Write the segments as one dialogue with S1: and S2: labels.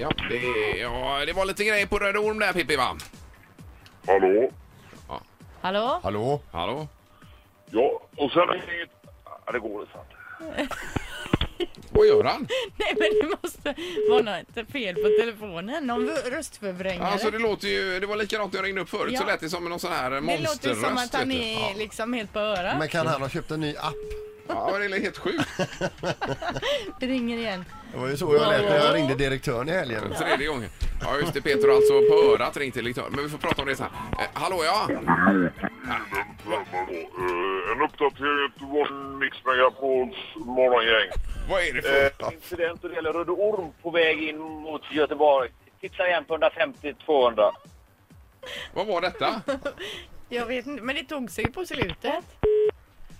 S1: Ja, det, ja, det var lite grejer på Röda Orm där Pippi va?
S2: Hallå?
S3: Hallå?
S4: Hallå?
S1: Hallå?
S2: Ja, och sen är det... Ja, det går inte.
S1: Vad gör
S3: Mm,
S1: han?
S3: Nej men det måste vara något fel på telefonen. Någon röstförvrängare.
S1: Alltså det låter ju, det var likadant när jag ringde upp förut
S3: Ja.
S1: så lät det som någon sån här
S3: det låter ju
S1: monsterröst.
S3: som att han
S1: vet du.
S3: är
S1: Ja.
S3: liksom helt på örat.
S4: typ. Men kan han ha köpt en ny app?
S1: ja, det är helt sjukt.
S3: Det ringer igen.
S4: Det var ju så jag lät när jag ringde direktören i helgen.
S1: Tredje gången. Ja just det, Peter har alltså på örat ringt till direktören. Men vi får prata om det sen. Eh, hallå ja?
S2: Mm, eh, En uppdatering till vårt Mix Megapols morgongäng.
S1: Vad är det för...
S5: Eh, incident när det gäller Röde Orm på väg in mot Göteborg. Tipsa igen på 150-200.
S1: Vad var detta?
S3: Jag vet inte, men det tog sig på slutet.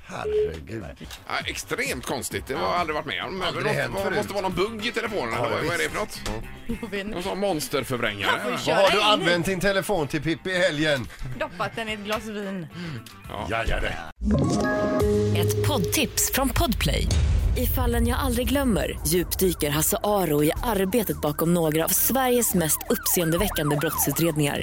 S4: Herregud.
S1: Ja, extremt konstigt, det har jag aldrig varit med om. Men
S4: Aldrig
S1: det
S4: hänt
S1: måste,
S4: förut.
S1: måste vara någon bugg i telefonen eller vad, vad är det för något?
S3: Jag vet
S1: Någon
S3: inte.
S1: sån
S3: Han får
S1: monsterförvrängare?
S3: ju
S4: Vad
S3: köra
S4: har du
S3: in.
S4: använt din telefon till Pippi i helgen?
S3: Doppat den i ett glas vin.
S4: Ja, ja, det.
S6: Ett poddtips från Podplay. I fallen jag aldrig glömmer djupdyker Hasse Aro i arbetet bakom några av Sveriges mest uppseendeväckande brottsutredningar.